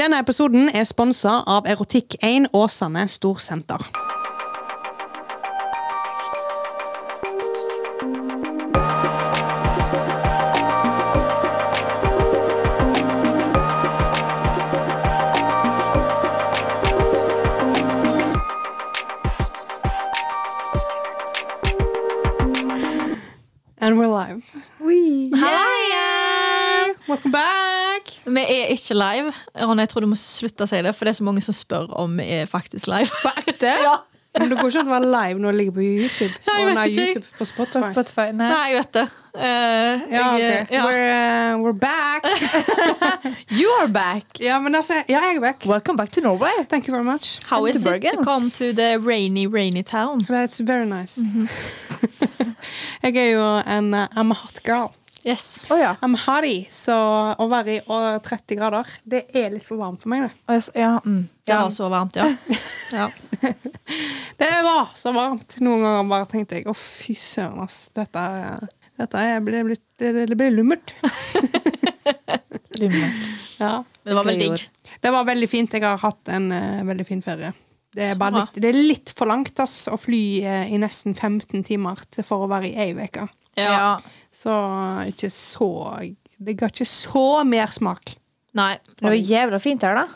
Denne episoden er sponsa av Erotikk1 Åsane Storsenter. And we're live. Hi! Welcome back! Vi er ikke live. Ronny, jeg tror du må slutte å si det, for det er så mange som spør om vi er faktisk live. På ekte? Men det går ikke an å være live når det ligger på YouTube. Nei, og jeg vet nei, ikke. YouTube på På Spotify. Spotify. Nei. Nei, jeg vet det. Eh, Ja, jeg, ok. We're, uh, we're back. You are back! Ja, men altså, ja, jeg er back. Welcome back to Norway! Thank you very much. How to is it to Bergen. come to the rainy, rainy town? That's very nice. Mhm. jeg er jo en uh, I'm a hot girl. Yes. Å ja. I'm hotty, så å være i å- 30 grader, det er litt for varmt for meg, det. Å, jeg s- ja, mm. Det ja. var så varmt, ja. ja. Det var så varmt. Noen ganger bare tenkte jeg å, fy søren, ass. Dette, er- dette er, blir, blitt, det, det blir lummert. Lummert. Ja. Men det var vel Gøy digg. ord. Det var veldig fint. Jeg har hatt en eh, veldig fin ferie. Det er, Så bare bra. litt, det er litt for langt ass, å fly eh, i nesten 15 timer til, for å være i ei uke. Ja. Så eh, ikke så Det ga ikke så mersmak. Nei. Det var jævla fint her, da.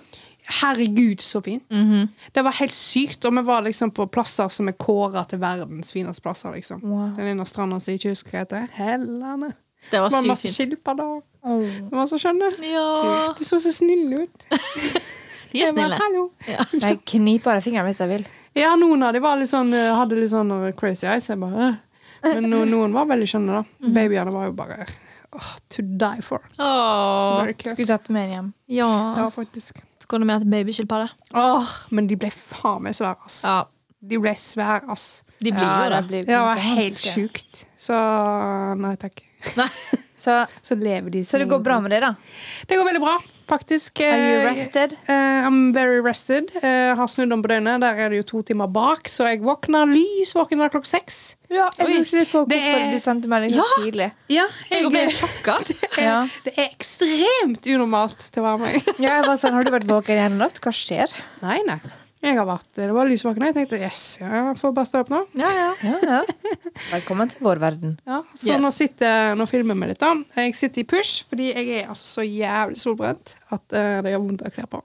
Herregud, så fint. Mhm. Det var helt sykt. Og vi var liksom på plasser som er kåra til verdens fineste plasser. liksom. Wow. Den ene stranda som jeg ikke husker hva heter. Hellene. Det Så var var det sykt masse fint. skilpadder. Oh. Det var så skjønne. Ja. De så så snille ut. De er Jeg bare, snille. Hallo. Ja. Jeg kniper bare fingrene hvis jeg vil. Ja, noen av de var litt sånn, eh, hadde litt sånn eh, crazy eyes. Jeg bare, eh. Men no, noen var veldig skjønne, da. Mhm. Babyene var jo bare åh, to die for. Så Åh. very cute. Skulle tatt med en hjem. Ja. Ja, faktisk. Så går det med til babyskilpadde. Åh, men de ble faen meg svære, ass. Ja. De ble svære, ass. De blir Ja, jo de det. blir Det var helt gigantiske. sjukt. Så nei takk. Så, Så lever de så det går bra med deg, da? Det går veldig bra, faktisk. Are you Eh, rested? eh, I'm very rested. Eh, har snudd om på døgnet. Der er det jo to timer bak, så jeg våkner lys, våkner klokka seks. Ja, jeg Oi. lurte litt på Det hvorfor er- du sendte meg litt Ja. tidlig. Ja, Jeg ble sjokka. Ja. Det er ekstremt unormalt til å være meg. ja, jeg var sånn, Har du vært våken i hele natt? Hva skjer? Nei, nei. Jeg har vært, Det var lysvåkne. Jeg tenkte yes, jeg får bare stå opp nå. Ja, ja. Ja, ja. Velkommen til vår verden. Ja, så Yes. nå, sitter, nå filmer vi litt. da. Jeg sitter i push fordi jeg er altså så jævlig solbrent at eh, det gjør vondt å kle på.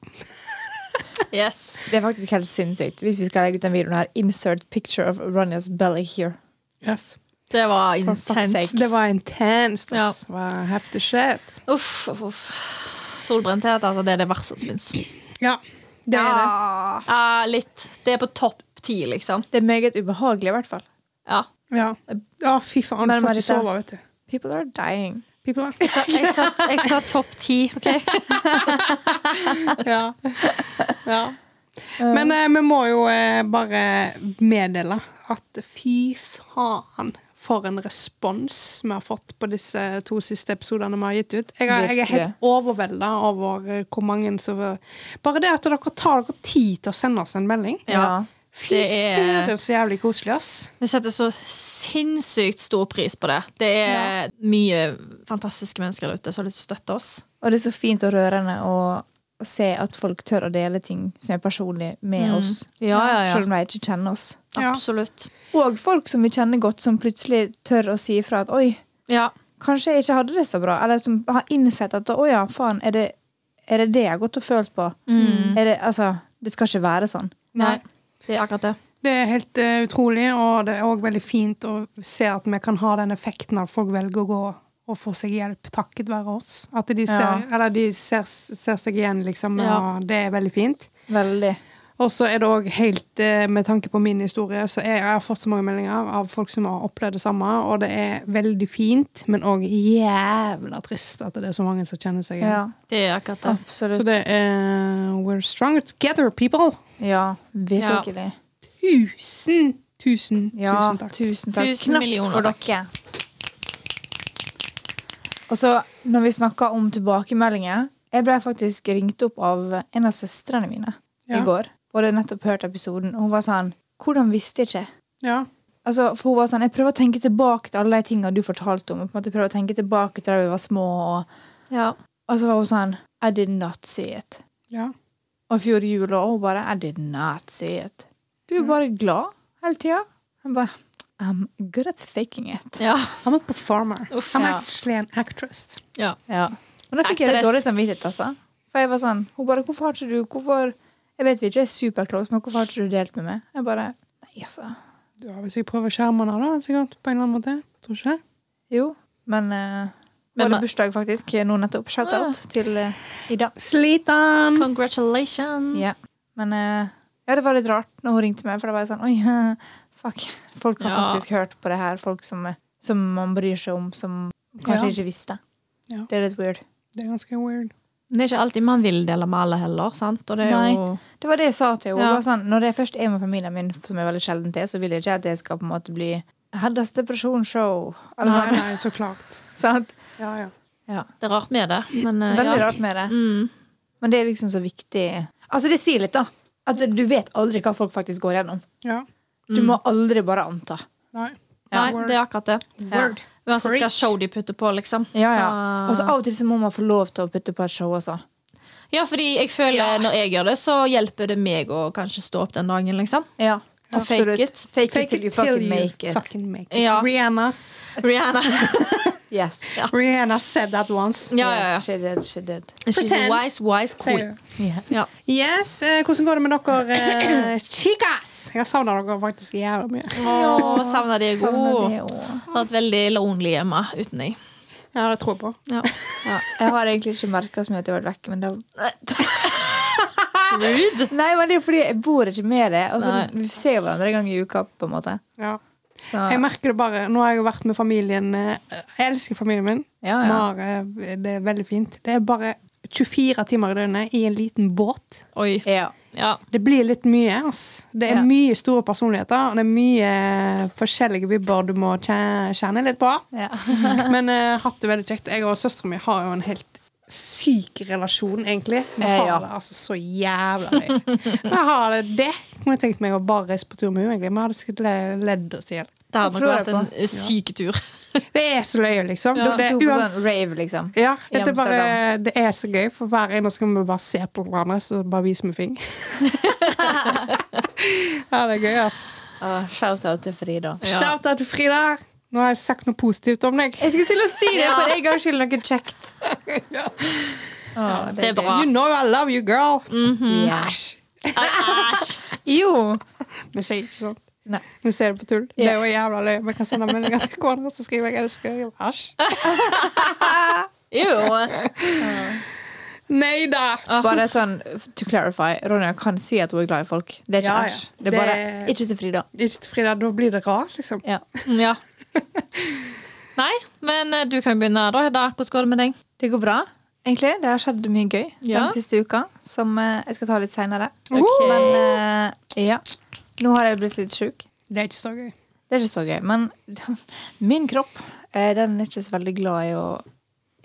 Yes. Det er faktisk helt sinnssykt. Hvis vi skal legge ut den videoen her, insert picture of Ronjas belly here. Yes. Det var For fuck's intenst. Det var intenst. ass. Det var heftig shit. Uff, uff, uff. Solbrenthet, altså. Det er det verste som fins. Ja, det er det. Ja, litt. Det er på topp ti, liksom. Det er meget ubehagelig, i hvert fall. Ja. Ja. Å, fy faen. Men Du får ikke Marita- sove, vet du. People are dying. People. Så jeg sa, jeg sa topp ti, OK? ja. ja. Men eh, vi må jo eh, bare meddele at fy faen for en respons vi har fått på disse to siste episodene vi har gitt ut. Jeg, har, jeg er Virkelig. helt overvelda over eh, hvor mange som Bare det at dere tar dere tid til å sende oss en melding. Ja. Fy Det er- søren, så jævlig koselig, ass. Vi setter så sinnssykt stor pris på det. Det er mye fantastiske mennesker der ute som har lyst til å støtte oss. Og det er så fint og rørende å, å se at folk tør å dele ting som er personlig med oss. Mm. Ja, ja, ja. Selv om de ikke kjenner oss. Ja. Absolutt. Og folk som vi kjenner godt, som plutselig tør å si ifra at oi, Ja. kanskje jeg ikke hadde det så bra. Eller som har innsett at å ja, faen, er det er det, det jeg har gått og følt på? Mm. Er det, altså, det skal ikke være sånn. Nei. Det er akkurat det. Det er helt eh, utrolig, og det er òg veldig fint å se at vi kan ha den effekten at folk velger å gå og få seg hjelp takket være oss. At de ser, Ja. eller de ser, ser seg igjen, liksom. Ja. Og det er veldig fint. Veldig. Og så er det òg helt eh, Med tanke på min historie, så jeg, jeg har fått så mange meldinger av folk som har opplevd det samme, og det er veldig fint, men òg jævla trist at det er så mange som kjenner seg igjen. Ja, Det er akkurat det. Så absolutt. det er We're stronger together, people! Ja, virkelig. Tusen, tusen, Ja, tusen takk. tusen takk. Tusen Knapt millioner for takk. dere. Og så, når vi snakker om tilbakemeldinger Jeg ble faktisk ringt opp av en av søstrene mine Ja. i går. Og hadde nettopp hørt episoden. Og hun var sånn Hvordan visste jeg ikke? Ja. Altså, for hun var sånn, Jeg prøver å tenke tilbake til alle de tingene du fortalte om. Og på en måte prøver å tenke tilbake til da vi var små. Og, Ja. og så var hun sånn I did not see it. Ja. Og i fjor jul og hun bare I did not see it. Du er bare glad hele tida. Jeg bare I'm good at faking it. Ja. I'm a performer. Uff, I'm ja. actually an actress. ja. Men da fikk jeg litt Actress. dårlig samvittighet, altså. For jeg var sånn Hun bare Hvorfor har ikke du Hvorfor Jeg vet vi ikke er superkloke, men hvorfor har ikke du delt med meg? Jeg bare Nei, altså. Du har vel sikkert prøvd å skjerme henne, da? Sikkert, på en eller annen måte. Tror ikke det? Jo, men eh, Men Var ma- det bursdag, faktisk? Nå nettopp. Ah. Shout-out til eh, Ida. Sliten! Congratulations. Ja. Men eh, ja, det var litt rart når hun ringte meg, for det var sånn Oi, fuck. Folk har Ja. faktisk hørt på det her. Folk som, eh, som man bryr seg om, som kanskje Ja. ikke visste. Ja. Det er litt weird. Det er ganske weird. Det er ikke alltid man vil dele med alle heller, sant? Og det er Nei. jo Det var det jeg sa til henne. Ja. Bare Sånn, når det først er med familien min, som jeg veldig sjelden er, så vil jeg ikke at det skal på en måte bli Heddas depresjonsshow. Eller Nei, sånn. nei, så klart. Sant? Ja, ja. Ja. Det er rart med det, men eh, Veldig ja. rart med det. Mm. Men det er liksom så viktig. Altså, det sier litt, da. At du vet aldri hva folk faktisk går gjennom. ja. Du Mm. må aldri bare anta. Nei. Nei, det er akkurat det. Word. Uansett hva Preach. show de putter på, liksom. Ja, ja. Så- Og så av og til så må man få lov til å putte på et show også. Ja, fordi jeg føler når jeg gjør det, så hjelper det meg å kanskje stå opp den dagen, liksom. Ja, To fake absolutt. it. Fake, it till you fucking make it. fucking make it. Ja. Rihanna. Rihanna. Yes. Rihanna said that once. Ja, ja, ja. Yes, she did, she did. She's a Pretend. wise, wise queen. Sier hun. Yeah. Ja. Yes, eh, hvordan går det med dere eh, chicas? Jeg har savna dere faktisk jævla mye. Å, savner de Savner god. det også. Har vært veldig lonely hjemme uten deg. Ja, det tror jeg på. Ja. Ja, jeg har egentlig ikke merka så mye at jeg har vært vekke. Men det... Rude. Nei, men det er fordi jeg bor ikke med det. Og så Nei. vi ser jo hverandre en gang i uka, på en måte. Ja. Så, Jeg merker det bare. Nå har jeg jo vært med familien. eh, Jeg elsker familien min. Ja, ja. Mare, det er veldig fint. Det er bare 24 timer i døgnet i en liten båt. Oi. ja. Ja. Det blir litt mye. ass. Det er Ja. mye store personligheter, og det er mye forskjellige vibber du må kje- kjenne litt på. Ja. Men eh, hatt det veldig kjekt. Jeg og søstera mi har jo en helt syk relasjon, egentlig. Vi Eh, har ja. det altså så jævla gøy. Jeg har det. det. kunne Jeg tenkt meg å bare reise på tur med henne, egentlig. Vi hadde sikkert le- ledd oss i hjel. Det hadde Det nok tror vært jeg en syk tur. Det er så løye, liksom. Ja. Det, To på uans- sånn rave, liksom. ja, i det, er bare, Amsterdam. det er så gøy, for hver ene skal vi bare se på hverandre, så bare viser vi fing. ja, det er gøy, ass. Og Shout-out Ah, til Frida. Ja. Shout-out til Frida! Nå har jeg sagt noe positivt om deg. Jeg skulle til å si det, for en gangs skyld noe kjekt. Å, Det er gøy. bra. You know I love you, girl! Ja. Æsj! Nei, Æsj. Jo. Vi sier ikke sånn. Nei. Vi ser det på tull. Det Ja. er jo jævla løye. Vi kan sende meldinger til hverandre så skriver jeg 'elsker deg'. Æsj. Jo. Nei da! Ah, Bare sånn, to clarify, Ronja kan si at hun er glad i folk. Det er ikke Ja, ja. æsj. Det er bare Det- ikke til Frida. Ikke til Frida. Da blir det rart, liksom. Ja. Ja. Nei, men eh, du kan jo begynne da, Hedda. Hvordan går det med deg? Det går bra, egentlig. Det har skjedd mye gøy Ja. den siste uka, som eh, jeg skal ta litt seinere. Ok. Men eh, ja. Nå har jeg blitt litt sjuk. Det er ikke så gøy. Det er ikke så gøy. Men min kropp eh, den er ikke så veldig glad i å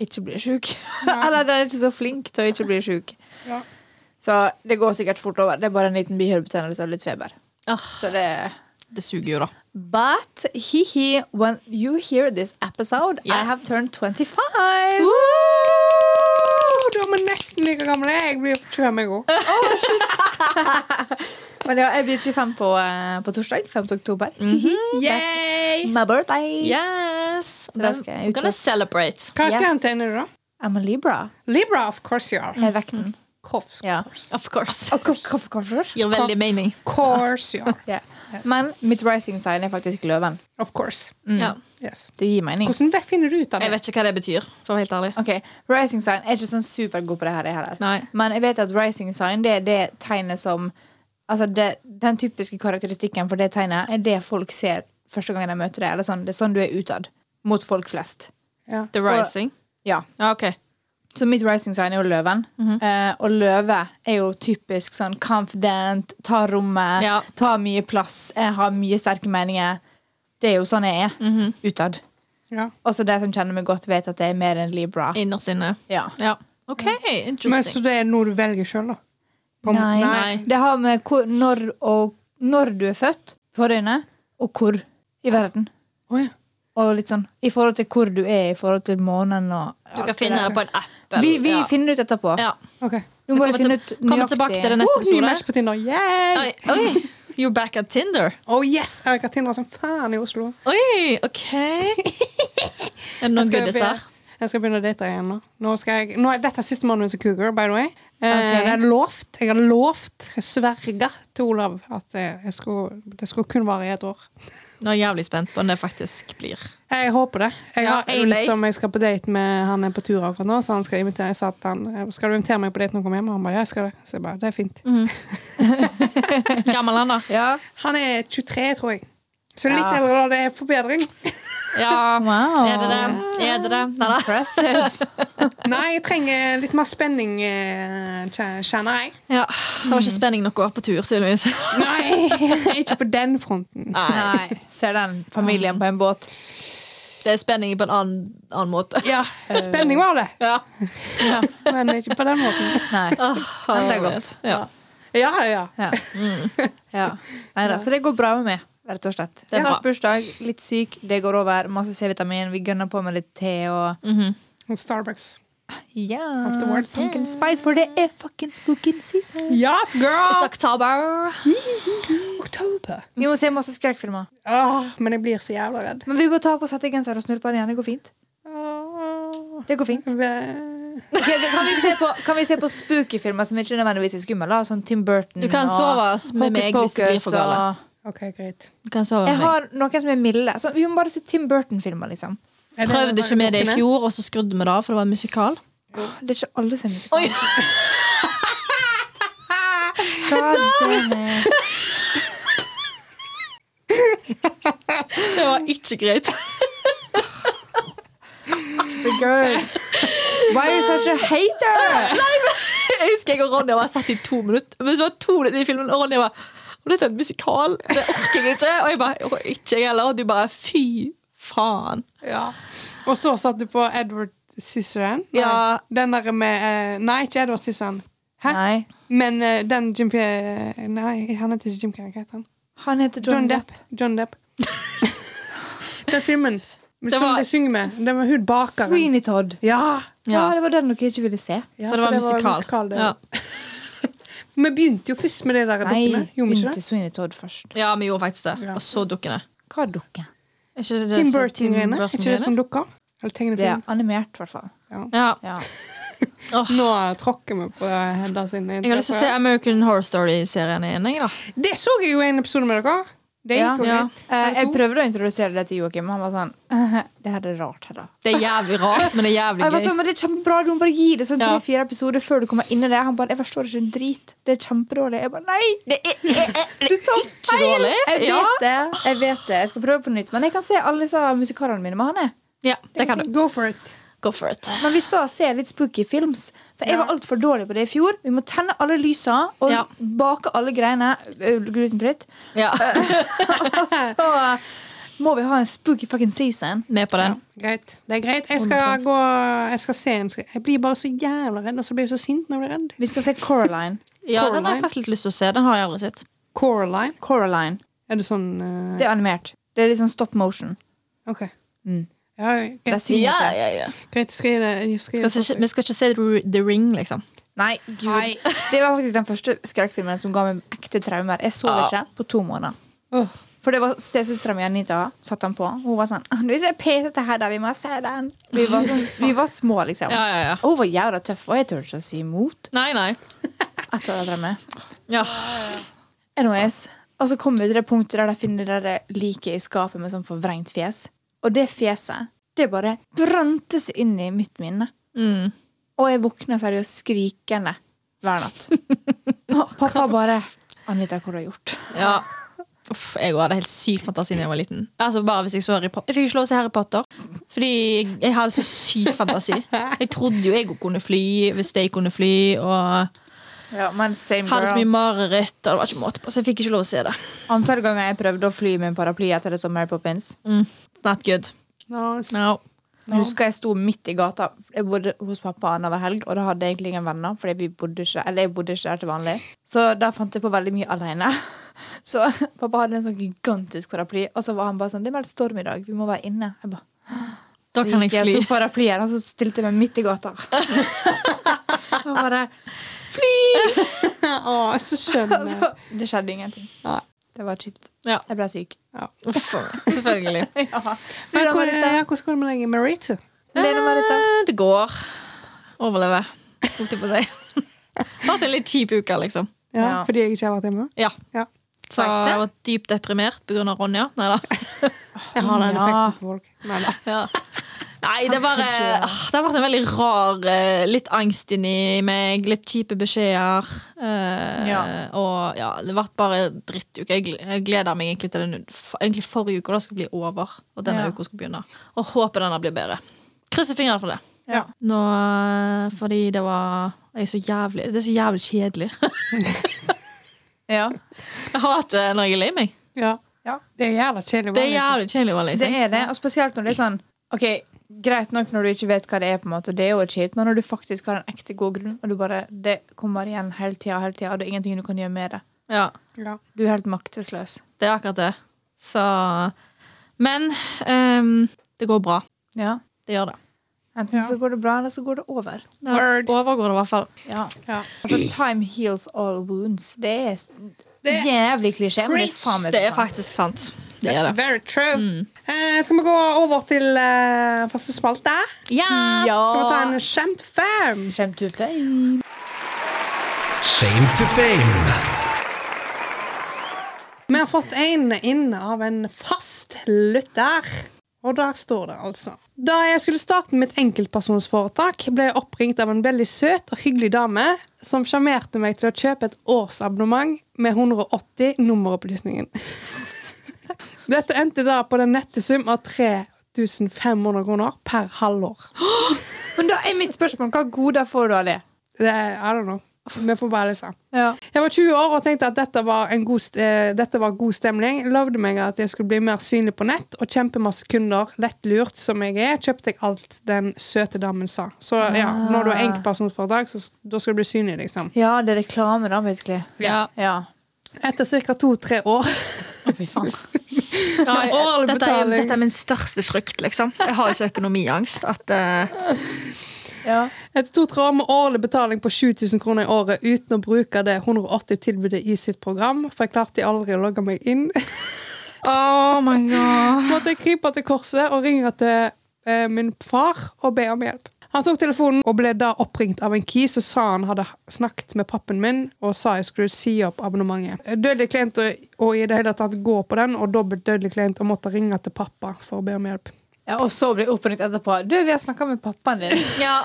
ikke bli sjuk. Eller den er ikke så flink til å ikke bli sjuk. Ja. Så det går sikkert fort over. Det er bare en liten bihulebetennelse og litt feber. Ah, Så det det suger jo, da. But he, he, when you hear this episode, I Yes. have turned 25. Å, da er vi nesten like gamle. Jeg blir 25, jeg òg. Men ja, jeg blir 25 på, eh, på torsdag. 5. oktober. Mhm. Yay! My birthday! Yes! Så da skal jeg We're gonna ut. celebrate. Hva er Yes. stjernetegnet du, da? I'm a Libra. Libra, of course you are. Jeg er vekten. Of Ja. Mhm. Of course. Og koff- koff- koffer. Gir veldig mening. course you are. Ja. Men mitt rising sign er faktisk løven. Of course. Ja. Yes. Det gir mening. Hvordan ve- finner du ut av Jeg det? vet ikke hva det betyr, for å være helt ærlig. Ok, Rising sign jeg er ikke sånn supergod på det her. jeg heller. Nei. Men jeg vet at rising sign det er det tegnet som Altså det, Den typiske karakteristikken for det tegnet er det folk ser første gang de møter det. Eller sånn, det er sånn du er utad. Mot folk flest. Ja. The Rising. Ja. Ja, OK. Så mitt rising sign er jo løven. Mhm. eh, og løve er jo typisk sånn confident, ta rommet, Ja. ta mye plass, jeg har mye sterke meninger. Det er jo sånn jeg er Mhm. utad. Ja. Også de som kjenner meg godt, vet at jeg er mer enn Libra. Innerst inne. Ja. Ja. OK, Men Så interesting. det er noe du velger sjøl, da? På- Nei. Nei. Det har med hvor, når, og, når du er født på døgnet, og hvor i verden. Å, ja. Og litt sånn i forhold til hvor du er i forhold til månen og Du alt kan det finne der. det på en app. eller- Vi, vi ja. finner ut etterpå. ja. Ok. Nå må Vi jeg finne ut kommer tilbake til det neste Oh, ny episode. match på Tinder. Yeah! Oi, oi, you back at Tinder? Oh yes! Erika Tinder som faen i Oslo. Oi, OK. Er det noen skal goodies her? begynne- jeg skal begynne å date igjen nå. nå, skal jeg, nå er dette er siste måneden som cougar, by the way. Eh, Jeg hadde lovt, jeg hadde lovt, jeg sverga til Olav at eh, jeg skulle, det skulle kun vare i et år. Nå er jeg jævlig spent på om det faktisk blir. Jeg håper det. Jeg Ja, har er du en lei? som jeg skal på date med. Han er på tur akkurat nå, så han skal invitere. Jeg sa til han eh, skal du invitere meg på date når du kommer hjem. Og han bare ja, jeg skal det. Så jeg bare, det er fint. Mm. Gammel han, da. Ja. Han er 23, tror jeg. Så litt Ja. eldre, da. Det er forbedring. Ja, Wow. er det det? Er det det? Nei da. Impressive. Nei, jeg trenger litt mer spenning, eh, kje- kjenner jeg. Ja, det var ikke spenning nok å gå på tur, tydeligvis. Nei, ikke på den fronten. Nei, Nei. Ser den familien på en båt. det er spenning på en annen, annen måte. Ja, spenning var det, Ja. men ikke på den måten. Nei. Men det er godt. Ja. Ja, ja. Ja. ja. Nei da, så det går bra med meg. Rett og slett. Det er bra. Knapp bursdag, litt syk, det går over. Masse C-vitamin. Vi gønner på med litt te og ja. Starbucks. Ja. Afterwards. Pumpkin spice, for det er fucking spooking season. Yes, It's girl! October. Oktober. Vi må se masse skrekkfilmer. Åh, men jeg blir så jævla redd. Men vi må ta på settegenser og snurre på den igjen. Det går fint. Åh. Det går fint. Ve- Ok, kan, vi se på, kan vi se på spooky filmer som ikke nødvendigvis er skumle? da? Sånn Tim Burton Du kan og sove med meg hvis det blir for galt. og- OK, greit. Du kan sove Jeg med meg. har noen som er milde. Så vi må bare se Tim Burton-filmer, liksom. Er det- Prøvde ikke med det i dukkene? fjor, og så skrudde vi det av, for det var en musikal. Det er ikke alle som er Oi. musikale. God damn it. Det var ikke greit. The girl. Why are you such a hater? Jeg husker jeg og Ronja var satt i to minutter. Men så var det to minutter i filmen, og Ronja var Og dette er en musikal. Det orker jeg ikke. Og jeg bare «Jeg orker Ikke jeg heller. Og du bare Fy faen. Ja. Og så satt du på Edward Scissorhand. Ja. Den der med eh, Nei, ikke Edward Scissorhand. Hæ? Nei. Men eh, den Jim Pierre Nei, han heter ikke Jim Carrey. Hva heter han? Han heter John, John Depp. Depp. John Depp. den filmen Det som var- de synger med. Den var hun bakeren. Sweeney Todd. Ja. Ja. Ja. det var den dere ikke ville se. ja! for det var musikal. det. ja. Vi begynte jo først med de der Nei, dukkene. Gjorde vi ikke begynte det? Sweeney Todd først. ja, vi gjorde faktisk det. Ja. Og så dukkene. Hva dukke? Er ikke det Tim som- Burton-greiene. Er ikke det Burton-greiene? som dukker? Eller Det er tegnefilm? animert, i hvert fall. Ja. Ja. Nå tråkker vi på Hedda sin Jeg har lyst til å se American Horror Story-serien igjen. jeg, da. Det så jeg jo i en episode med dere. Det Ja. gikk jo Ja. greit. Eh, Eller jeg to. prøvde å introdusere det til Joakim, og han var sånn «Eh, Det her er rart. Hedda. Det er jævlig rart, men det Og er jævlig Jeg var gøy. sånn, men det er kjempebra, du må bare gi det sånn Ja. tre-fire episoder før du kommer inn i det. Han bare 'Jeg forstår ikke en drit. Det er kjempedårlig.' Jeg bare 'Nei, Det er, er, er, du tar ikke dårlig. Jeg vet Ja. det. Jeg vet det, jeg skal prøve på nytt. Men jeg kan se alle disse musikalene mine med han. Jeg. ja, det kan du. Go for it. Go for it. Men vi skal se litt spooky films. For jeg Ja. var altfor dårlig på det i fjor. Vi må tenne alle lysa og Ja. bake alle greiene ø, glutenfritt. Ja, Og så må vi ha en spooky fucking season. med på den. Greit. Det er greit. Jeg skal 100%. gå Jeg skal se en Jeg blir bare så jævla redd, og så blir jeg så sint når jeg blir redd. Vi skal se Coraline. Ja, den har Coraline. jeg faktisk litt lyst til å se. Den har jeg aldri sett. Coraline. Coraline. Er det sånn eh, Det er animert. Det er litt sånn stop motion. OK. Mm. Ja, Det greit. er synd ikke. greit, jeg skal gi det jeg skal gi Skal det ikke, forsøk. vi skal ikke se The- The Ring, liksom. Nei, gud. Det var faktisk den første skrekkfilmen som ga meg ekte traumer. Jeg sov Ja. ikke på to måneder. Åh, For det var stesøstera mi Anita satte den på. Hun var sånn «Nå er jeg pesete her, da. Vi må se den. Vi var, sånn, vi var små, liksom. Ja, ja, ja. Og Hun var jævla tøff, og jeg turte ikke å si imot Nei, nei. etter det drømmet. Ja. Anyways, og så kom vi til det punktet der de finner det der liket i skapet med sånn forvrengt fjes. Og det fjeset, det bare brente seg inn i mitt minne. Mm. Og jeg våkna seriøst skrikende hver natt. Pa- Pappa bare Anita, hva har du gjort? ja. Uff, jeg hadde helt syk fantasi da jeg var liten. Altså bare hvis Jeg så Harry Potter Jeg fikk ikke lov å se Harry Potter fordi jeg hadde så syk fantasi. Jeg trodde jo jeg kunne fly hvis jeg kunne fly, og Ja, men same hadde så mye girl. mareritt. Og det var ikke måte på, så jeg fikk ikke lov å se det. Antall ganger jeg prøvde å fly med en paraply etter det som Mary Poppins. Mm. Not good. nice. No. Jeg husker jeg sto midt i gata. Jeg bodde hos pappa annenhver helg, og da hadde jeg egentlig ingen venner. Fordi vi bodde ikke, eller jeg bodde ikke der til vanlig Så da fant jeg på veldig mye alene. Så pappa hadde en sånn gigantisk paraply, og så var han bare sånn 'Det er meldt storm i dag, vi må være inne'. Jeg bare, Da så kan gikk jeg fly. og tok paraplyen, og så stilte jeg meg midt i gata. Og bare Fly! Å, så skjønner jeg. Altså, det skjedde ingenting. Nei. Det var kjipt. Ja. Jeg ble syk. Uff, selvfølgelig. Men Ja. Hvordan hvor- var dette? ja, hvordan går det med deg i Merite? Lene Marita. Eh, Det går. Overleve. Holdt jeg på å si. Hatt en litt kjip uke, liksom. Ja, Ja. Fordi jeg ikke har vært hjemme? Ja. Ja. Så Takk, det. jeg var dypt deprimert pga. Ronja. Nei da. Jeg har den Ja. effekten på folk. Men, Ja. Nei, det, er bare, ah, det har vært en veldig rar eh, Litt angst inni meg, litt kjipe beskjeder. eh, Ja. Og ja, det ble bare drittuke. Jeg gl- Jeg gleder meg egentlig til den f- Egentlig forrige uke da skal bli over, og denne Ja. uka skal begynne. Og håper denne blir bedre. Krysser fingrene for det. Ja. Nå, eh, fordi det var jeg er så jævlig, Det er så jævlig kjedelig. ja. Jeg hater når jeg er lei meg. ja. Ja. Det er jævla kjedelig. å Det er være liksom. jævlig kjedelig å være lei Det seg. er det. Og spesielt når det er sånn Ok, Greit nok når du ikke vet hva det er, på en måte og det er jo kjipt, men når du faktisk har en ekte god grunn, og du bare, det kommer igjen hele tida, hele tida, og det er ingenting du kan gjøre med det. Ja. Ja. Du er helt maktesløs. Det er akkurat det. Så Men ehm, det går bra. Ja. Det gjør det. Enten Ja. så går det bra, eller så går det over. det Word. overgår det i hvert fall. Ja. Ja. Altså, time heals all wounds. Det er s- Det er jævlig klisjé, men det er preach. faen meg Det så er sant. faktisk sant. Det That's er det. Mm. very true. Eh, skal vi gå over til eh, faste spalte? Yes! Skal vi ta Ja. en kjent fam? Shame to fame. Shame to fame. Vi har fått en inn av en fast lytter. Og der står det altså. Da jeg skulle starte mitt enkeltpersonsforetak, ble jeg oppringt av en veldig søt og hyggelig dame som sjarmerte meg til å kjøpe et årsabonnement med 180 nummeropplysningen. Dette endte da på den nette sum av 3500 kroner per halvår. Men da er mitt spørsmål hva goder får du av det? Det er, I don't know. Vi får bare lese. Ja. Jeg var 20 år og tenkte at dette var, en god, st- eh, dette var god stemning. Lovde meg at jeg skulle bli mer synlig på nett og kjempemasse kunder. Lettlurt som jeg er, kjøpte jeg alt den søte damen sa. Så ja, når du Ah. har enkeltpersonforetak, så s- da skal du bli synlig, liksom. ja, det er reklame, da, basically. Ja. Ja. Etter ca. to-tre år Å, fy faen. Ja, jeg- Årlig dette, er, betaling. dette er min største frykt, liksom. Jeg har ikke økonomiangst. At, eh, Ja. Etter to-tre år med årlig betaling på 7000 kroner i året uten å bruke det 180 tilbudet i sitt program, for jeg klarte aldri å logge meg inn. oh my god. måtte jeg krype til korset og ringe til eh, min far og be om hjelp. Han tok telefonen og ble da oppringt av en kis og sa han hadde snakket med pappen min og sa jeg skulle si opp abonnementet. Dødelig klient og, og i det hele tatt gå på den, og dobbelt dødelig klient og måtte ringe til pappa for å be om hjelp. ja, Og så blir jeg oppringt etterpå. Du, vi har snakka med pappaen din. Ja.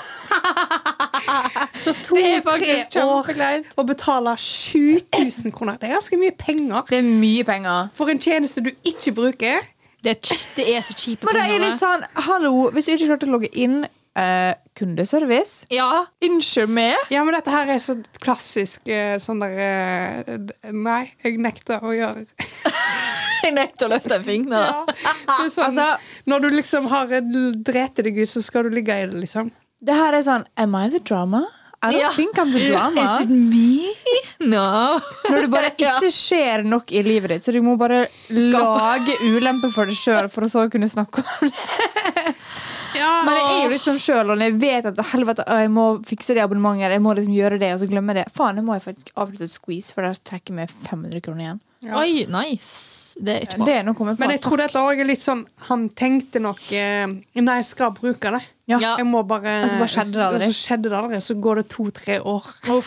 Så Det er faktisk to-tre år kjempekleint. å betale 7000 kroner, det er ganske mye penger Det er mye penger. for en tjeneste du ikke bruker. Det, er, kj- det er så kjipe Men det er litt sånn, hallo, hvis du ikke klarte å logge inn eh, kundeservice Ja. Unnskyld meg? Ja, men dette her er så klassisk eh, sånn der eh, d- Nei, jeg nekter å gjøre Jeg nekter å løfte en finger. da. Det er sånn, Altså- når du liksom har drete deg ut, så skal du ligge i det, liksom. Det her er sånn Am I the drama? I don't Ja. think I'm the drama. Is it me? No. Når du bare Ja. ikke skjer nok i livet ditt, så du må bare lage ulemper for deg sjøl for å så kunne snakke om det. Men jeg er jo litt sånn sjøl, og når jeg vet at helvete, å, jeg må fikse det abonnementet, jeg må liksom gjøre det, og så glemmer jeg det. Faen, nå må jeg faktisk avslutte squeeze, for der trekker jeg meg 500 kroner igjen. Ja. Oi, nice. Det er ikke bra. Det er noe jeg kommer på. Men jeg tror dette òg er litt sånn Han tenkte nok eh, Nei, jeg skal bruke det. Ja. Ja. Jeg må bare Og så bare skjedde det aldri. Og Så skjedde det aldri. Så går det to-tre år, Å,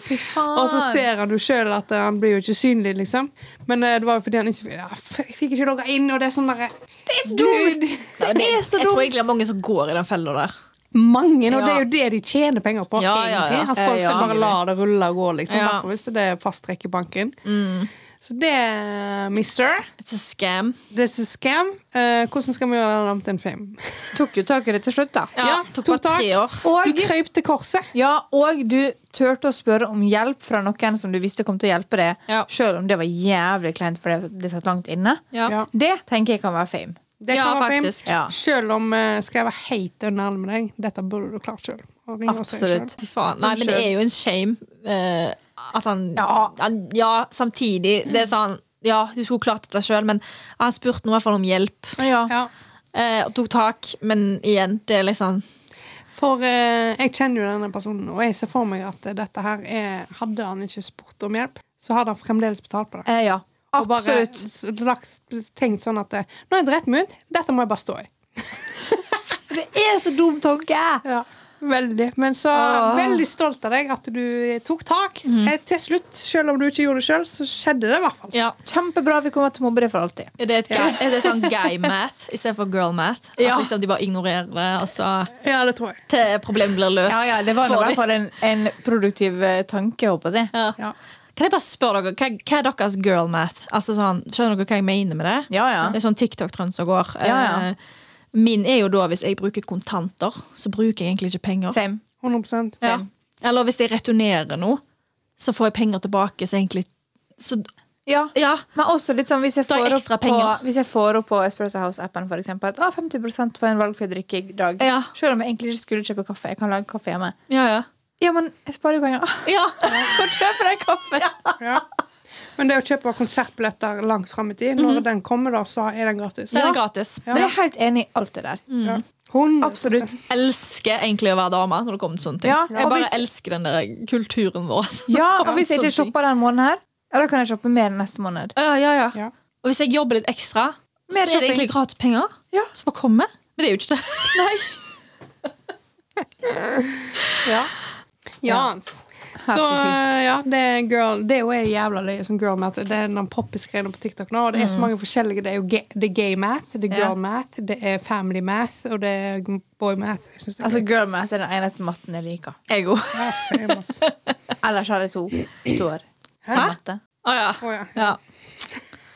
fy faen. og så ser han jo sjøl at eh, han blir jo ikke synlig, liksom. Men eh, det var jo fordi han ikke ja, f- Jeg fikk ikke logga inn, og det er sånn derre Det er så dumt! Nei, Det er så Jeg tror dumt. egentlig det er mange som går i den fella der. Mange, og Ja. det er jo det de tjener penger på. Ja, ja, egentlig. ja. Altså, folk Ja, som ja. bare lar det rulle og gå, liksom. Ja. Mm. Derfor hvis det er fast trekk i banken. Så det, eh, mister, It's a scam. this is scam. Eh, hvordan skal vi gjøre den om til en film? Tok jo tak i det til slutt, da. Ja, Ja, tok to bare tre tak. år. Du Og, krøyp til korset. ja, og du turte å spørre om hjelp fra noen som du visste kom til å hjelpe deg, Ja. sjøl om det var jævlig kleint fordi det satt langt inne. Ja. Ja. Det tenker jeg kan være fame. Det Ja, kan være film. faktisk. Ja. Selv om eh, skal jeg være helt unnærlig med deg, dette burde du klart sjøl. Absolutt. Fy faen. Nei, men det er jo en shame eh, at han Ja. han, ja, samtidig. Det er sånn Ja, du skulle klart dette sjøl, men han spurte nå i hvert fall om hjelp. Ja. Ja. eh, og tok tak, men igjen, det er liksom For eh, jeg kjenner jo denne personen, og jeg ser for meg at eh, dette her er Hadde han ikke spurt om hjelp, så hadde han fremdeles betalt på det. Eh, ja. Og bare Absolutt. s- lagt- tenkt sånn at eh, Nå har jeg drept meg ut, dette må jeg bare stå i. Det er så dum tanke! Ja, veldig. Men så Åh. veldig stolt av deg at du tok tak. Eh, Til slutt, selv om du ikke gjorde det sjøl, så skjedde det i hvert fall. Ja. Kjempebra vi kommer til å mobbe det for alltid. Er det, et guy, er det sånn guy-math istedenfor girl-math? At Ja. liksom de bare ignorerer det, og så Ja, det tror jeg. til problemet blir løst? Ja, ja, Det var nå i for de. hvert fall en, en produktiv eh, tanke, håper jeg. Ja. Ja. Kan jeg bare spørre dere, hva, hva er deres girl-math? Altså sånn, skjønner dere hva jeg mener med det? Ja, ja. Det er sånn TikTok-trend som går. Ja, ja. Eh, Min er jo da hvis jeg bruker kontanter, så bruker jeg egentlig ikke penger. Same. 100 Ja. Eller hvis jeg returnerer noe, så får jeg penger tilbake. Så egentlig så, Ja. Ja. Men også litt sånn hvis jeg Da er får opp ekstra på, penger. hvis jeg får opp på Espresso House-appen for eksempel, at ah, 50 for en valgfri drikke i dag. Ja. Selv om jeg egentlig ikke skulle kjøpe kaffe. Jeg kan lage kaffe hjemme. Ja, ja. Ja, men jeg sparer jo penger. Ah, ja. Få kjøpe deg kaffe! Ja. Men det å kjøpe konsertbilletter langt fram i tid, når den kommer, da, så er den gratis. Så er det gratis. Mhm. Ja. Men jeg er helt enig i alt det der. Ja. 100%. Absolutt. Elsker egentlig å være dame når det kommer til sånne ting. Ja, jeg og bare hvis- elsker den der kulturen vår. Ja, og hvis jeg ikke Sånne ting. shopper den måneden her, ja, da kan jeg shoppe mer neste måned. Ja, ja, ja. Ja. Og hvis jeg jobber litt ekstra, så Mer er det shopping. egentlig gratis penger. Ja. Så bare kommer. Men det er jo ikke det. Ja. Jans. Så Herregud. ja, det er girl Det er jo en jævla løye som girl math. Det er den poppisk-greia på TikTok nå. Og det er så mange forskjellige. Det er jo ga- det er gay math, det er Ja. girl math, det er family math, og det er boy math. Jeg synes det er Altså, gøy. Girl math er den eneste matten jeg liker. Jeg òg. Ja, same, ass. Ellers har jeg to, to år. Hæ? I matte. Å ja. Å, ja. ja.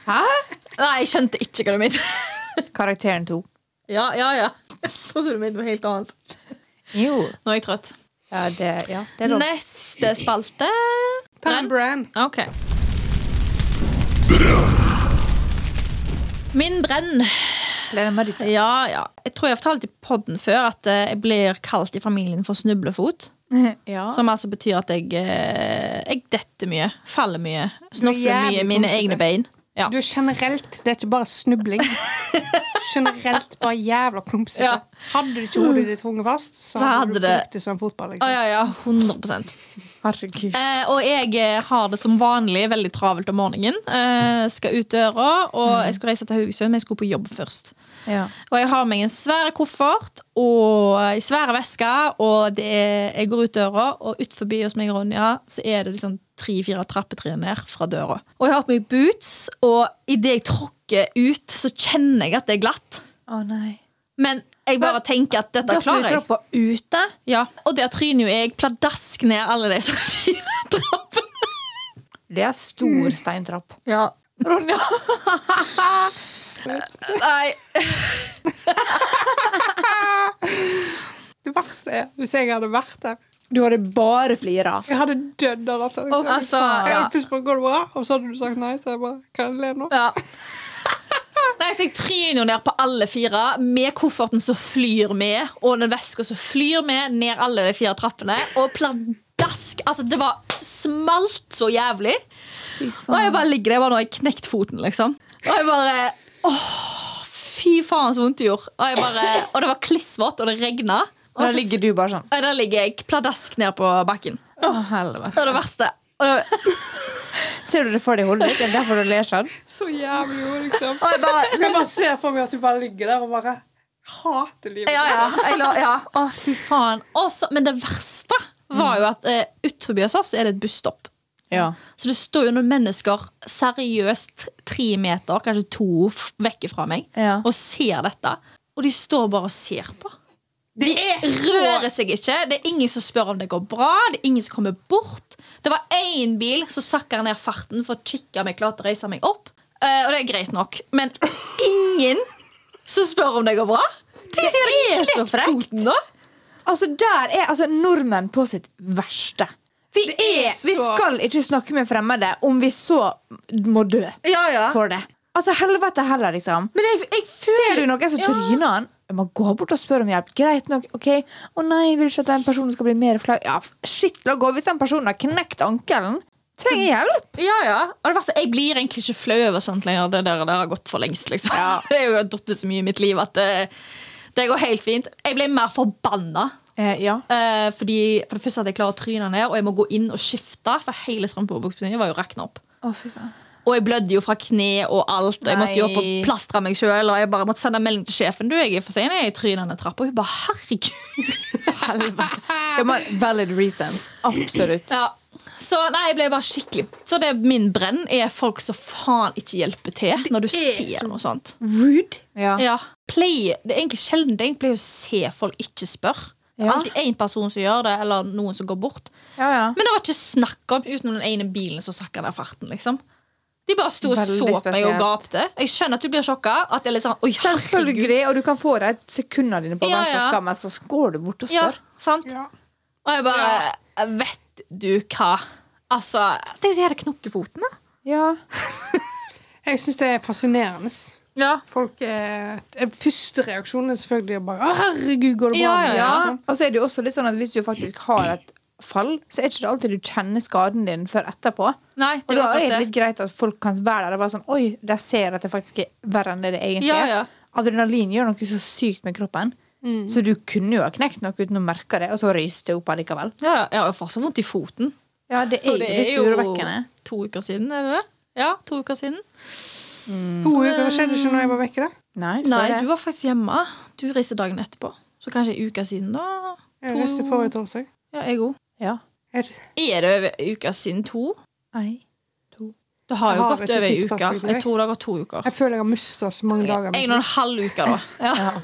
Hæ? Nei, jeg skjønte ikke hva du mente. Karakteren to. Ja, ja, ja. Jeg trodde du mente noe helt annet. Jo. Nå er jeg trøtt. Ja, det, ja, det er lov. Neste spalte. Ta en brand. OK. Min brenn. Lene Marita. Ja, ja. Jeg tror jeg har fortalt i podden før at eh, jeg blir kalt i familien for snublefot. Ja. Som altså betyr at jeg, eh, jeg detter mye, faller mye, snufler jævlig mye mine klumsete. egne bein. Ja. Du er generelt Det er ikke bare snubling. Generelt bare jævla klumpsete. Ja. Hadde du ikke hodet ditt hunget fast, så hadde du hadde det- brukt det som en fotball. Å, Liksom. ja, ja, 100 Herregud. Eh, og jeg eh, har det som vanlig veldig travelt om morgenen. Eh, skal ut døra, og Mm. jeg skal reise til Haugesund, men jeg skulle på jobb først. Ja. Og jeg har meg en svær koffert og ei svær veske, og det er, jeg går ut døra, og ut forbi hos meg og Ronja så er det liksom tre-fire trappetrinn ned fra døra. Og jeg har på meg boots, og idet jeg tråkker ut, så kjenner jeg at det er glatt. Å nei. Men jeg bare Men, tenker at dette Dere klarer jeg. utroppa ute? Ja. Og der tryner jo jeg pladask ned alle de som fine trappene. Det er stor steintrapp. Ja. Ronja! Nei. Det verste er hvis jeg hadde vært der. Du hadde bare flira. Jeg hadde dødd av latter. Å, Liksom. Altså, Jeg ja. hadde pusset på, går det bra? Og så hadde du sagt nei. Så jeg bare, kan jeg le nå? Ja. Nei, så Jeg tryner jo ned på alle fire, med kofferten som flyr med, og den veska som flyr med, ned alle de fire trappene. Og pladask! Altså, det var smalt så jævlig. Og jeg bare ligger der. Jeg bare nå har jeg knekt foten, liksom. Og jeg bare åh, Fy faen, så vondt det gjorde. Og, jeg bare, og det var klissvått, og det regna. Og Der så- ligger du bare sånn. Nei, Der ligger jeg pladask ned på bakken. Å, helvete. Det var det verste. Og det, Ser du det for deg i hodet ditt? Det er derfor du ler sånn. Så jævlig jo, liksom. og jeg bare Jeg bare ser for meg at du bare ligger der og bare hater livet. Ja, ja. Jeg la, ja. Å, fy faen. Og så- men det verste var jo at eh, utenfor hos oss er det et busstopp. Ja. Så det står jo noen mennesker seriøst tre meter, kanskje to, f- vekk fra meg Ja. og ser dette. Og de står bare og ser på. Det er Rører seg ikke. Det er ingen som spør om det går bra. Det er ingen som kommer bort. Det var én bil som sakka ned farten for å kikke om jeg klarte å reise meg opp. Eh, og det er greit nok. Men ingen som spør om det går bra. Det er så frekt. Foten, da. Altså, der er altså nordmenn på sitt verste. Vi, er er, vi så- skal ikke snakke med fremmede om vi så må dø Ja, ja. for det. Altså, helvete heller, liksom. Men jeg, jeg føler Ser du noen som Ja. tryner han? Jeg må gå bort og spørre om hjelp. Greit nok. ok Å nei, jeg vil ikke at den personen skal bli mer flau. Ja, f- shit, la gå. Hvis den personen har knekt ankelen, trenger jeg hjelp. Ja, ja. Og det verste, jeg blir egentlig ikke flau over sånt lenger. Det der, det har gått for lengst, liksom. Ja. Det er jo datt ut så mye i mitt liv at det, det går helt fint. Jeg ble mer forbanna Eh, ja. Eh, fordi For det første at jeg klarer å tryne ned, og jeg må gå inn og skifte. For hele strømpebuksa mi var jo rakna opp. Å, fy faen. Og jeg blødde jo fra kne og alt. Og jeg måtte jo opp og Nei. plastre meg sjøl. Og jeg bare måtte sende melding til sjefen. Du, jeg er for sen, jeg er i trynet ned trappa. Og hun bare herregud. Helvete. Ja, men valid reason. Absolutt. Ja. Så nei, jeg ble bare skikkelig Så det er min brenn er folk som faen ikke hjelper til når du ser noe sånt. Rude. Ja. Ja. Pleier, det er egentlig sjelden det. Jeg pleier å se folk ikke spørre. Det er Ja. alltid én person som gjør det, eller noen som går bort. ja, ja. Men det var ikke snakk om utenom den ene bilen som sakka ned farten. liksom De bare sto og Veldig så på meg og spesielt. gapte. Jeg skjønner at du blir sjokka. At det er litt sånn, Oi, herregud Selvfølgelig. Og du kan få de sekundene dine på Ja, hver ja. sjokka, men så går du bort og ja, spør. sant? Ja. Og jeg bare Vet du hva? Altså, Tenk hvis jeg hadde knukket foten, da. Ja. Jeg syns det er fascinerende. Ja. Folk eh, den Første reaksjonen er selvfølgelig å bare Å, herregud, går det bra? Ja, med deg?» ja. Sånn. Og så er det jo også litt sånn at hvis du faktisk har et fall, så er det ikke alltid du kjenner skaden din før etterpå. Nei, Og det da var er akkurat det det. litt greit at folk kan være der og bare sånn Oi, de ser at det faktisk er verre enn det det egentlig Ja, Mm. er. ja. Adrenalin gjør noe så sykt med kroppen. Så du kunne jo ha knekt noe uten å merke det, og så røyste det opp allikevel. Ja, ja, jeg har jo fortsatt vondt i foten. Ja, det er jo Og litt urovekkende. to uker siden, er det det? Ja, to uker siden. Mm. To uker, det skjedde ikke når jeg var vekke, da. Nei, før Nei, det. du var faktisk hjemme. Du reiste dagen etterpå. Så kanskje en uke siden, da. Jeg reiste forrige torsdag. Ja, jeg òg. Ja. Jeg- Er det over en uke siden to? Ei, to. Det har Jeg jo har gått ikke over en tidsperspektiv, uke. jeg. Jeg tror det har gått to uker. Jeg føler jeg har mista så mange dager. med En og en halv uke, da. Ja.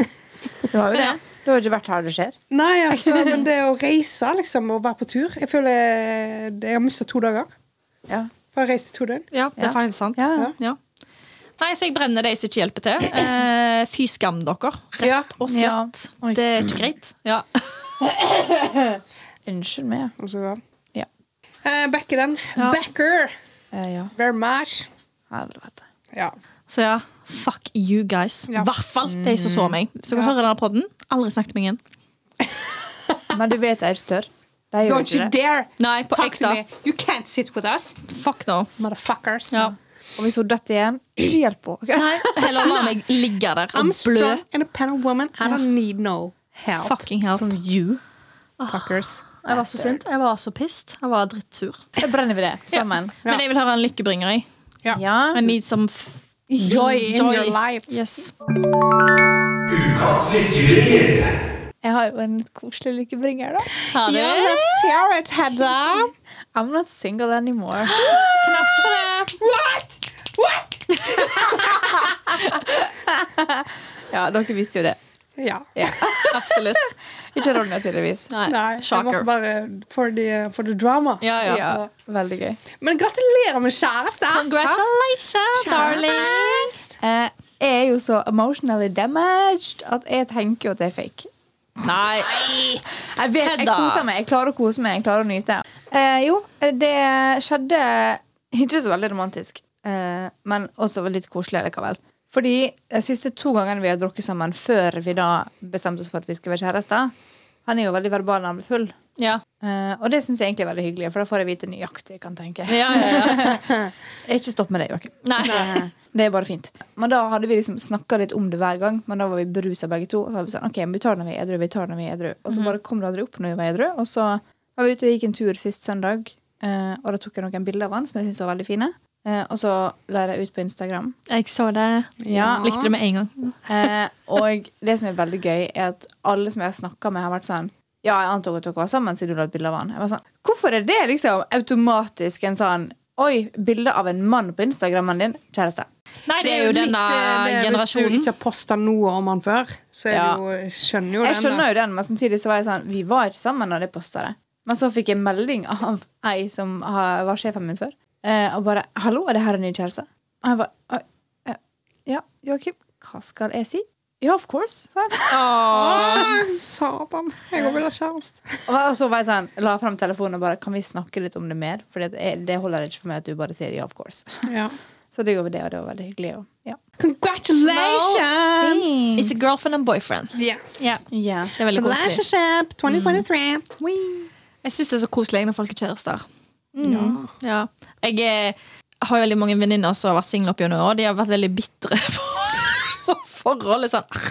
Du har jo det. Du har jo ikke vært her det skjer. Nei, altså, men det å reise liksom, og være på tur Jeg føler jeg, jeg har mista to dager. Ja. Bare reist i to døgn. ja, det er faktisk sant. Ja. Ja. Nei, så jeg brenner de som ikke hjelper til. Eh, Fy skam dere, rett og Ja. slett. Oi. Det er ikke greit. Ja. Unnskyld meg. Og så, ja. Ja. Eh, backer den. Backer Eh, ja. very much. Helvete. Ja. Så ja, fuck you guys. I Ja. hvert fall de som så meg. Så dere hører denne podden. Aldri snakk til meg igjen. Men du vet jeg er større. De gjør Don't you ikke det. dare Nei, på talk to ekte. me! You can't sit with us, Fuck no. motherfuckers. Ja. Og hvis hun detter igjen, ikke hjelp henne. Nei, heller la meg ligge der og I'm blø. strong, independent woman. I don't need no help. Fucking help. You. Fuckers. Jeg var så sint. Jeg var så pissed. Jeg var drittsur. Da brenner vi det sammen. Men jeg vil høre en lykkebringer. Jeg. Ja. Ja. I need some f Joy in your life. Yes. Ukas lykkebringer. Jeg har jo en litt koselig lykkebringer, da. Ha det. Yeah, let's hear it, Hedda. I'm not single anymore. Knaps for det. What? What? Ja, dere visste jo det. Ja. Absolutt. Ikke Ronja, tydeligvis. Nei, Nei, jeg måtte shocker. bare for the, for the drama. Ja, ja. Ja, veldig gøy. Men gratulerer med kjæreste! Congratulations, darling. Eh, jeg er jo så emotionally damaged at jeg tenker jo at jeg er fake. Nei. Jeg vet, jeg Hedda. koser meg, jeg klarer å kose meg, jeg klarer å nyte. Eh, jo, det skjedde ikke så veldig romantisk, eh, men også litt koselig likevel. Fordi de siste to gangene vi har drukket sammen før vi da bestemte oss for at vi skulle være kjærester, han er jo veldig verbal når han blir full. Ja. Eh, og det syns jeg egentlig er veldig hyggelig, for da får jeg vite nøyaktig, kan jeg tenke. Ja, ja, ja. Ikke stopp med det, Joakim. Nei. Det er bare fint. Men da hadde vi liksom snakka litt om det hver gang, men da var vi berusa begge to. Og så hadde vi sånn, ok, men vi tar det når vi er edru, vi tar det når vi er edru. Og så bare kom det aldri opp når vi var edru. Og så var vi ute og gikk en tur sist søndag, eh, og da tok jeg noen bilder av han som jeg syntes var veldig fine. Eh, og så la jeg det ut på Instagram. Jeg så det. Ja. Likte det med en gang. Eh, og det som er veldig gøy, er at alle som jeg har snakka med, har vært sånn Ja, jeg antok at dere var sammen siden du la et bilde av han. Jeg var sånn, Hvorfor er det liksom automatisk en sånn Oi, bilde av en mann på Instagrammen din? Kjæreste. Nei, det er jo litt, denne eh, det- Hvis du generasjonen. ikke har posta noe om han før, så er Ja. det jo, jeg skjønner jo Jeg den. da. skjønner jo den, men samtidig så var jeg sånn Vi var ikke sammen når jeg posta det. Men så fikk jeg melding av ei som har- var sjefen min før, eh, og bare 'Hallo, er det her en ny kjæreste?' Og jeg bare «Oi, eh, Ja, Joakim, hva skal jeg si? Ja, of course, sa han. Å, satan. Jeg òg vil ha kjæreste. Og så var jeg sånn, la frem telefonen og bare 'Kan vi snakke litt om det mer?' For det, det holder ikke for meg at du bare sier 'ja, of course'. Ja. Så det gjorde vi det, og det var veldig hyggelig. Og, ja. Congratulations! It's a girlfriend and boyfriend. Yes. Ja. Yeah. Det er veldig koselig. Relationship 2023. Jeg syns det er så koselig når folk er kjærester. Mm. Ja. Jeg eh, har jo veldig mange venninner som har vært single opp gjennom åra. De har vært veldig bitre for for forholdet. Sånn, «Ah,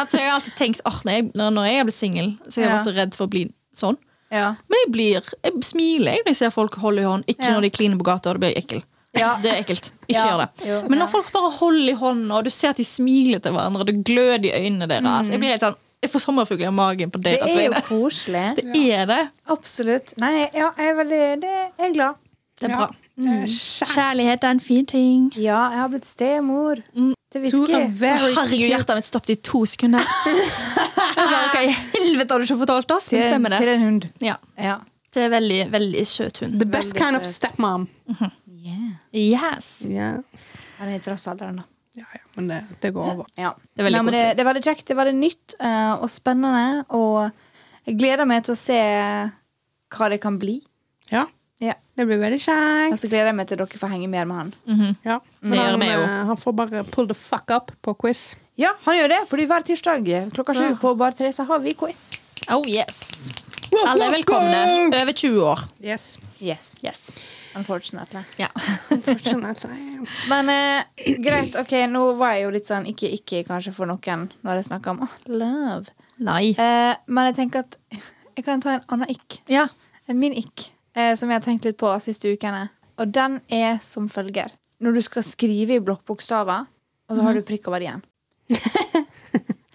æsj, Så jeg har alltid tenkt åh, når, jeg, når- når jeg er blitt singel, så har jeg Ja. vært så redd for å bli sånn. Ja. Men jeg blir, jeg smiler jeg når jeg ser folk holde i hånd. Ikke Ja. når de kliner på gata, da blir jeg ekkel. Ja. Det er ekkelt. Ikke Ja. gjør det. Jo, Men ja. når folk bare holder i hånda, og du ser at de smiler til hverandre, og det gløder i øynene deres Jeg blir helt sånn, jeg får sommerfugler i magen på Det deres er jo vegne. koselig. Det er det. Absolutt. Nei, ja, jeg er veldig det, Jeg er glad. Det er Ja. bra. Det er kjært. Kjærlighet er en fin ting. Ja, jeg har blitt stemor. Mm. Det To hvisker are jeg. very Herregud, cute. hjertet mitt stoppet i to sekunder. Jeg bare, Hva i helvete har du ikke fortalt oss? Men Til, stemmer det. til en hund. Ja, Ja. det er veldig, veldig søt hund. The best Veldig kind of søt. stepmom. Yes. Yes. Han er i trassalderen, da. Ja, ja, men det, det går over. Ja. Det er veldig Nei, men det, koselig. det er veldig kjekt. Det er veldig nytt eh, og spennende. Og jeg gleder meg til å se hva det kan bli. Ja, Ja. det blir veldig Og kjekt. så gleder jeg meg til dere får henge mer med han. Ja. Det Men gjør han, vi jo. eh, han får bare pull the fuck up på quiz. Ja, han gjør det, fordi hver tirsdag klokka sju på Bar Tre så har vi quiz. Oh yes. Alle er velkomne. Over 20 år. Yes. Yes, Yes. unfortunately. Ja. Unfortunately. Men eh, greit, ok, nå var jeg jo litt sånn ikke-ikke kanskje for noen når jeg snakket om ah, love. Nei. Eh, men jeg tenker at jeg kan ta en annen ikk. Ja. Min ikk, eh, som jeg har tenkt litt på siste ukene. Og den er som følger. Når du skal skrive i blokkbokstaver, og så har du prikk over igjen.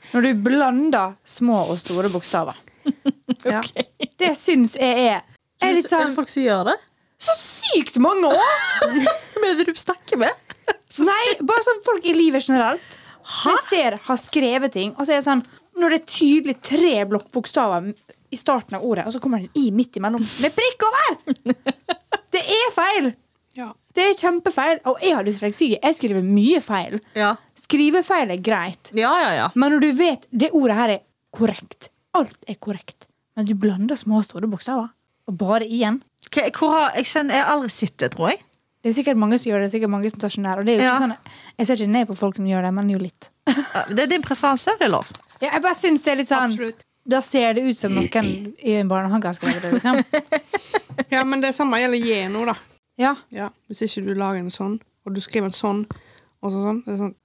Når du blander små og store bokstaver. Ja. Det syns jeg er er litt sånn folk som gjør det? Så sykt mange år! Hvem er det du snakker med? Nei, bare sånn folk i livet generelt. For Jeg ser har skrevet ting, og så er det sånn Når det er tydelig tre blokkbokstaver i starten av ordet, og så kommer det en i midt imellom med prikk over! Det er feil! Ja. Det er kjempefeil. Og jeg har dysleksi. Jeg skriver mye feil. Ja. Skrivefeil er greit, Ja, ja, ja. men når du vet det ordet her er korrekt Alt er korrekt, men du blander små og store bokstaver. Og bare igjen. Ok, Hvor har, jeg kjenner jeg har aldri sett det, tror jeg. Det er sikkert mange som gjør det, det er sikkert mange som tar seg nær. Og det er jo Ja. ikke sånn, jeg ser ikke ned på folk som gjør det, men jo litt. Ja, Det er din preferanse. Det er lov. Ja, jeg bare syns det er litt sånn Absolutt. Da ser det ut som noen i en barnehage har skrevet det. liksom. Ja, men det samme gjelder Geno, da. Ja, Ja. Hvis ikke du lager en sånn, og du skriver en sånn, og så sånn, det er sånn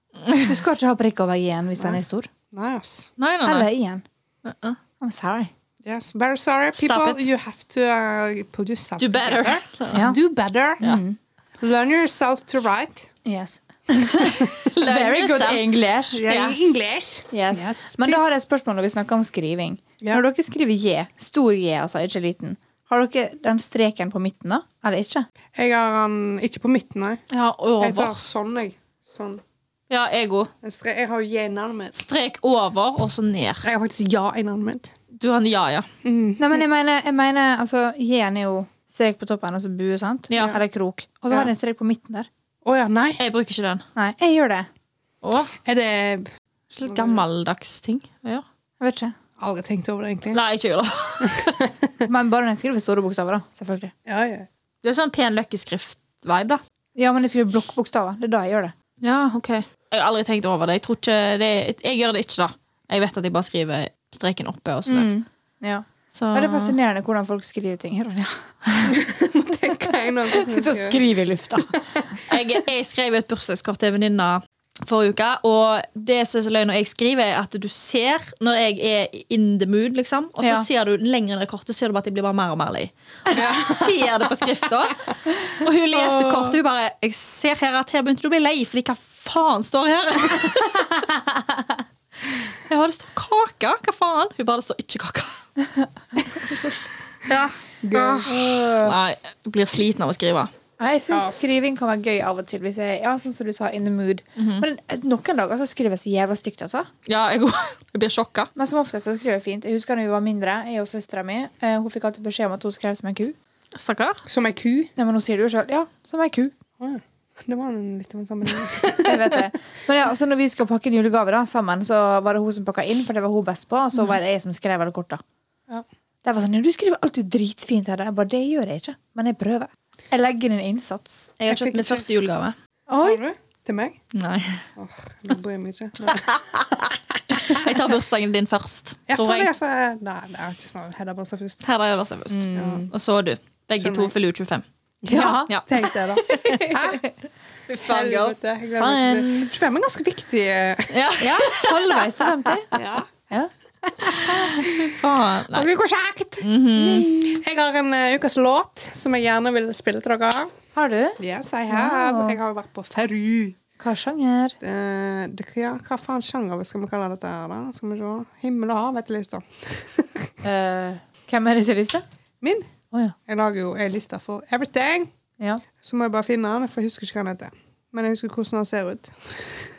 Du skal ikke ha prikk over i-en hvis den er stor. Nei, ass. Nei, nei, nei. Eller i-en. Uh-uh. I'm sorry. Yes, very sorry. Stop People, it. you have to uh, put yourself Do better. together. Ja. Do better. Learn yourself to write. Yes. Very good thing. English. Yeah, Yes. English. Yes. Yes, Men da har jeg et spørsmål når vi snakker om skriving. Ja. Når dere skriver J, stor J, altså, ikke liten, har dere den streken på midten da? Eller ikke? Jeg har han ikke på midten, nei. Ja, Jeg tar over. sånn, jeg. Sånn. Ja, jeg òg. En stre- Jeg har jo J-navnet mitt. Strek over, og så ned. Jeg har faktisk ja i navnet mitt. Du har en ja, ja. Nei, men jeg mener, jeg mener altså, J-en er jo strek på toppen, og så bue, sant? Ja. Eller krok. Og så har Ja. den en strek på midten der. Å ja, nei. Jeg bruker ikke den. Nei, jeg gjør det. Å, Er det ikke litt gammeldags ting å gjøre? Jeg vet ikke. Aldri tenkt over det, egentlig. Nei, ikke jeg da. Men bare når jeg skriver store bokstaver, da. Selvfølgelig. Ja, ja. Det er sånn pen løkkeskrift-vibe, da. Ja, men jeg skriver blokkbokstaver. Det er da jeg gjør det. Ja, ok. Jeg har aldri tenkt over det. Jeg, tror ikke det, jeg gjør det ikke, da. Jeg vet at jeg bare skriver streken oppe. Og sånn. Mm. Ja. Så, Og det er fascinerende hvordan folk skriver ting. Ronja. Det kan jeg nå ikke Sitter og snakke. skriver i lufta. jeg, jeg skrev et bursdagskort til en venninne forrige uke, og det som er så løy når jeg skriver, er at du ser når jeg er in the mood, liksom, og så Ja. ser du lenger ned i kortet, så ser du bare at jeg blir bare mer og mer lei. Og du ser det på skrifta. Og hun leste kortet, hun bare Jeg ser her at her begynte du å bli lei, fordi hva faen står her? Jeg bare, det står kake. Hva faen? Hun bare, det står ikke kake. Ja. Nei, jeg blir sliten av å skrive. Nei, jeg syns Ass. skriving kan være gøy av og til. Hvis jeg, ja, sånn som du sa, in the mood. Men eh, noen dager så skriver jeg så jævla stygt, altså. Ja, jeg, jeg blir sjokka. Men som oftest så skriver jeg fint. Jeg husker da vi var mindre, jeg og søstera mi. eh, Hun fikk alltid beskjed om at hun skrev som en ku. Stakkar. Som ei ku. Nei, men hun sier det jo sjøl. Ja, som ei ku. Å, ja. Det var en litt av en sammenheng. Jeg vet det. Men ja, så når vi skal pakke en julegave da, sammen, så var det hun som pakka inn, for det var hun best på, og så var det jeg som skrev alle korta. Ja. Det var sånn, ja, Du skriver alltid dritfint. Her. Jeg bare, det gjør jeg ikke, men jeg prøver. Jeg legger inn en innsats. Jeg har Jeg kjøpt fikk min ikke- første julegave. Har du? Til meg? Nei. Åh, nå bryr jeg meg ikke. Jeg tar bursdagen din først, Jeg tror tror jeg. jeg sa Nei, det er ikke snart. Hedda bare sa først. Her er jeg bursdag først. Og så du. Begge Skjønner to jeg. fyller jo 25. Ja. Ja. Tenk det, da. Hæ? Fy faen, girls. Helvete, jeg glemmer det. 25 er ganske viktig. eh. Ja. Ja, halvveis til 50. Ja. Faen. Nei. Noe kjekt! Jeg har en eh, ukas låt som jeg gjerne vil spille til dere. Har du? Yes, I have. Jeg har jo vært på Ferry. Hva sjanger? Eh, det, ja, hva faen sjanger skal vi kalle dette her, da? Skal vi se. Himmel og hav heter lista. Eh, hvem er det sin liste? Min. Å ja. Jeg lager jo ei liste for everything. ja. Så må jeg bare finne den, for jeg husker ikke hva han heter. Men jeg husker hvordan han ser ut.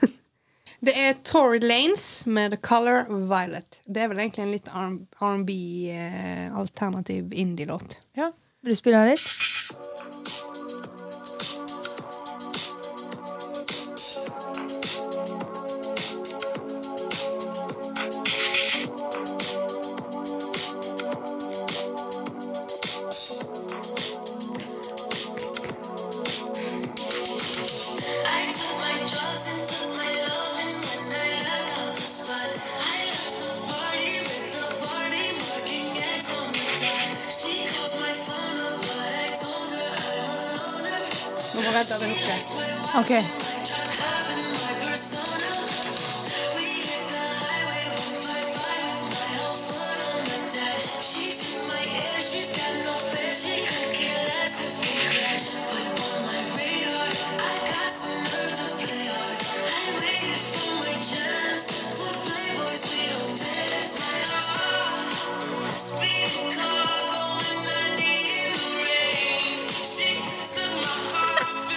det er Tory Lanes med The Color Violet. Det er vel egentlig en litt R&B-alternativ indie-låt. Ja. Vil du spille den litt? Nå var jeg redd at jeg hørte. OK.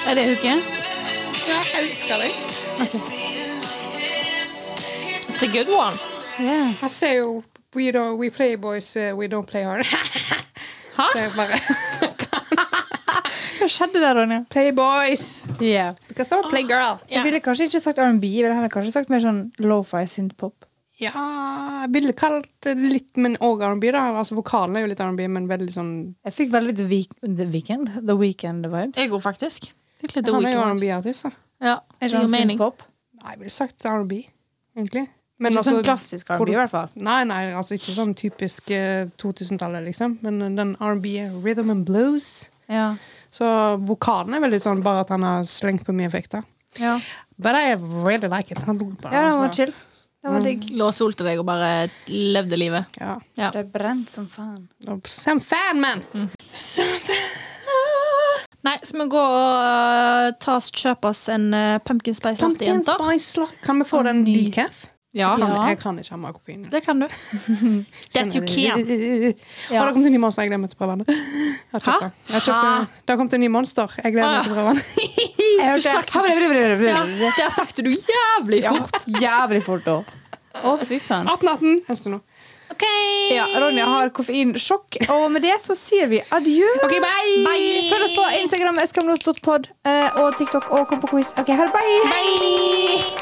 Er det hooken? Ja, jeg elsker deg. It's a good one. Ja. Han ser jo We, don't, we play boys, eh, we don't play hard. Hæ? Så jeg bare Hva skjedde der, Ronja? Play boys! Yeah. Hva står play girl? Ja. Jeg ville kanskje ikke sagt R&B, jeg ville heller kanskje sagt mer sånn lo-fi synth-pop. Ja, jeg ville kalt det litt, men òg R&B, da. Altså, vokalen er jo litt R&B, men veldig sånn Jeg fikk veldig The, week the Weekend The weekend vibes. Jeg går faktisk. Fikk litt The Han er jo Weeknd. R&B-artist, da. Ja, Er det ikke gir han mening. synth-pop? Nei, jeg ville sagt R&B, egentlig. Men Ikke altså- sånn klassisk R&B, i hvert fall. Nei, nei, altså ikke sånn typisk eh, 2000-tallet, liksom. Men eh, den R&B er rhythm and blues. Ja. Så vokalen er veldig sånn bare at han har slengt på mye effekter. Ja, But I really like it. Han lo på ja den var altså bare- chill. Mm. Den var digg. Lå og solte deg og bare levde livet. Ja. Ja. Det er brent som faen. Og Sam Fan, man! Sam Fan! Nei, skal vi gå og ta oss, kjøpe oss en eh, pumpkin spice latte, Pumpkin jenter? spice latte. Kan vi få den ny. decaf? Ja, Kan, Ja. jeg kan ikke ha med koffein. det kan du. That you can. Å, det kom til en ny monster. Jeg gleder meg til å prøve den. Jeg har kjøpt Hæ? den. Jeg har kjøpt den. Det har kommet en ny monster. Jeg gleder meg til å prøve den. Jeg hørte Ja, der snakket du jævlig fort. jævlig fort da. Å, fy faen. 1818. Helst til nå. OK. Ja, Ronja har koffeinsjokk, og med det så sier vi adjø. OK, bye! Bye. Følg oss på Instagram, skamlos.pod, eh, og TikTok, og kom på quiz. Ok, ha det. Bye! Bye.